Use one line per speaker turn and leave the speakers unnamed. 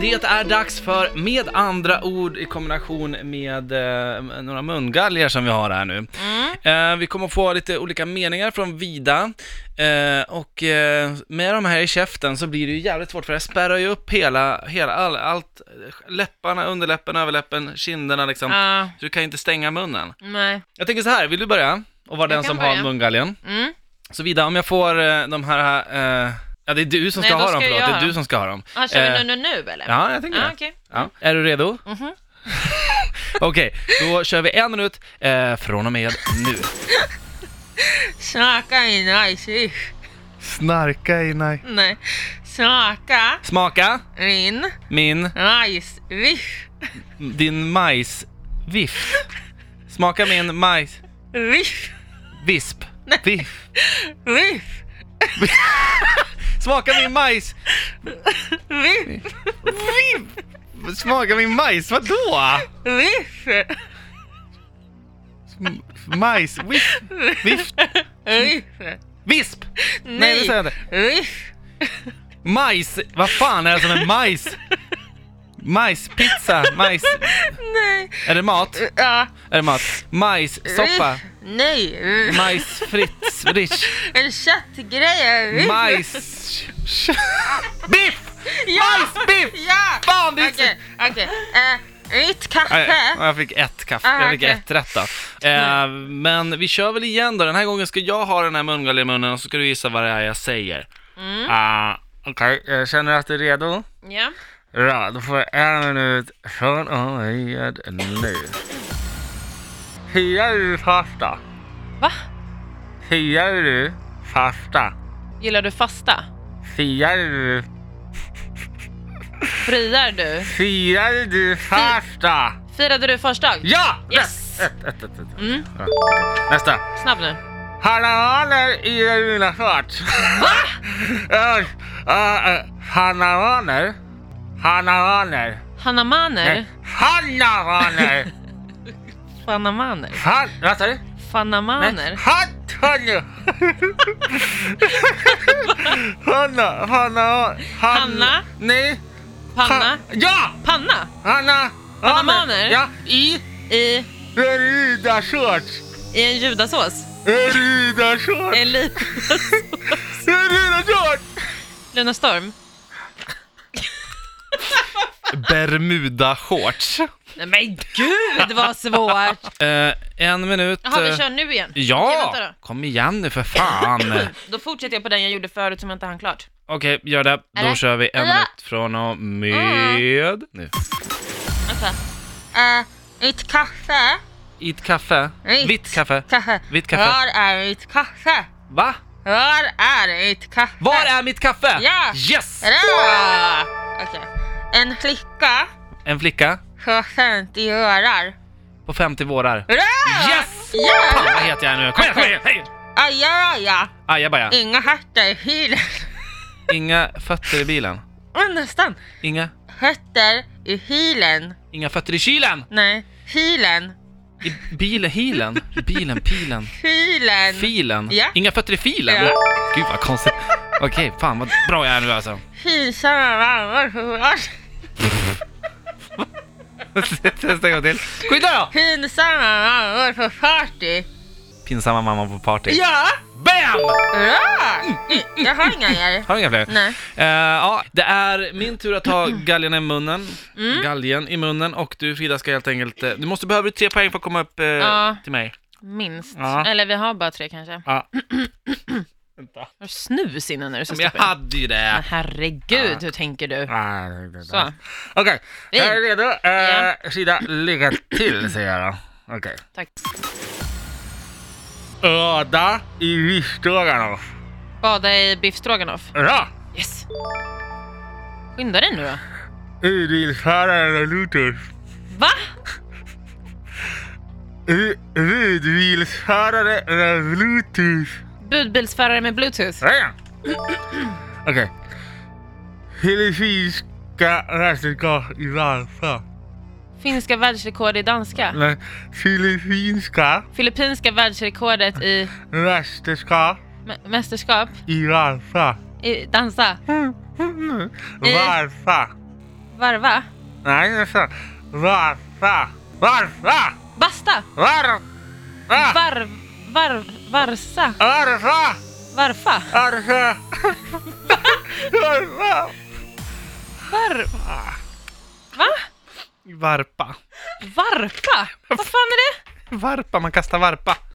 det är dags för Med andra ord i kombination med eh, några mungaljer som vi har här nu.
Mm,
Eh, vi kommer få lite olika meningar från Vida eh, och eh, med de här i käften så blir det ju jävligt svårt för det spärrar ju upp hela, hela all, allt, läpparna, underläppen, överläppen, kinderna liksom.
Ja,
Så du kan ju inte stänga munnen.
nej.
Jag tänker så här, vill du börja? Och vara
Jag
den
kan
som har
börja.
mungaljen.
Mm.
Så Vida, om jag får eh, de här, eh, ja det är du som
Nej,
ska
då
ha dem,
ska jag
förlåt. Det
ha
är du
dem.
som ska ha dem.
Ah, kör vi
Eh,
nu, nu, nu eller?
Ja, jag tänker
ah,
det.
okej.
Ja. Är du redo?
Mhm.
Okej, då kör vi en minut eh, från och med nu.
Snacka i najsig.
Snarka i nej.
Nej. Snacka
Smaka
in
min,
najsviff.
din majsviff. Smaka min majsvisp.
Viff.
Viff.
Viff.
Smaka min majs...
Viff.
Viff. Smaka min majs, vadå?
Viff.
Sm- Majs... Viff. Viff.
Viff.
Visp! Nej, det säger jag inte.
Viff.
Majs... Vad fan är det som är majs? Majspizza, majs...
Nej.
Är det mat?
Ja.
Är det mat? Majssoppa?
Viff. Nej. Viff.
Majsfritz? Rich?
En köttgrej. Viff.
Majs... Biff!
Ja.
Majsbiff!
Ja.
Fan, det är
Okej,
så-
okej. Eh, Vitt
Nej,
kaffe.
Jag fick ett kaffe,
Ah,
jag fick
okej.
ett rätt då. Eh, men vi kör väl igen då, den här gången ska jag ha den här mungallen i munnen och så ska du gissa vad det är jag säger.
Mm.
Ah, Okej, jag känner att du är redo.
Ja.
Bra, då får jag en minut från och med nu. Hejar du fasta?
Va?
Hejar du fasta?
Gillar du fasta?
Firar du?
Friar du?
Firar du fasta?
Firade du första?
Ja!
Yes!
Ett, ett, ett, ett, ett.
Mm,
Ja. Nästa.
snabb nu.
Hanavaner i mina svart. Hanavaner? Hanavaner?
Hanamaner?
Hanavaner?
Fanamaner?
Han... Vad sa du?
Fanamaner?
Han, Hanna! Hanna, Hanna, Han-
Hanna?
Nej.
Panna?
Han- Ja!
Panna?
Hanna!
Hanna
Hanna.
Maner?
Ja, i
I,
en riddarshorts.
i en judasås?
En riddarshorts.
En liten
En riddarshorts!
Luna Storm?
Bermudashorts.
Nej men gud vad svårt!
Eh, en minut.
Jaha, vi
eh,
kör nu igen. Okej,
Ja!
vänta då.
Kom igen nu för fan.
Då fortsätter jag på den jag gjorde förut som jag inte hann klart.
Okej, gör det. Då
Eller?
kör vi en
Eller? Mm.
minut från och med nu.
Vänta. Uh, mitt kaffe.
I ett kaffe.
Vitt.
Vitt kaffe.
Kaffe.
Vitt kaffe.
är mitt kaffe?
Va?
Var är mitt kaffe?
Var är mitt kaffe?
Ja.
Yes!
Bra! Okej. En flicka
En flicka
på 50 örar.
på 50 vårar.
Bra!
Yes! Fan,
Ja!
vad heter jag nu? Kom igen, kom igen! Hej! Ah,
Ajaja!
Ajabaja.
Inga hötter i bilen.
Inga fötter i bilen.
Men nästan.
Inga,
Hötter i hilen.
inga fötter i kylen!
Nej, hilen.
I bilen, hilen, bilen, pilen,
Filen.
filen.
Ja.
Inga fötter i filen!
Ja.
Gud vad konstigt. Okej, fan vad bra jag är nu alltså.
Pinsamma mammor hurrar.
Testa en gång till. Skynda då!
Pinsamma mammor på party.
Pinsamma mamma på party.
Ja! Mm.
Bam!
Bra! Jag har inga mer.
Har du inga fler?
Nej.
Eh, ja, det är min tur att ta galgen i munnen. Galgen i munnen och du Frida ska helt enkelt... eh, Du måste behöva tre poäng för att komma upp eh,
Ja.
till mig.
Minst.
Ja.
Eller vi har bara tre kanske. Har
Ja. Vänta.
du snus innan när du ska
Men jag
stoppa in?
hade ju
Men
det.
herregud, hur tänker du?
Ah, det- det-
Så.
Okej,
Fin.
jag är redo.
Ja.
Eh, Frida, lycka till säger jag då. Okej.
Tack.
Öda i risdågarna.
Bada i biff stroganoff.
Ra!
Yes. Skynda dig nu då.
Urbilföraren Luthers.
Va?
Urbilföraren Luthers.
Budbilsförare med bluetooth.
Okej. Filippinska världsrekord i danska.
Finska världsrekord i danska.
Nej, Filippinska
Filippinska världsrekordet i
mästerskap
mä- mästerskap
i danska.
Eh.
i dansa.
Varför?
Varva?
Nej, just det. Varva. Varva.
Basta!
Varva.
Varv... Varv... Varsa?
Varva.
Varfa?
Varva. Varva.
Varv... Va?
Varpa.
Varpa? Vad fan är det?
Varpa, man kastar varpa.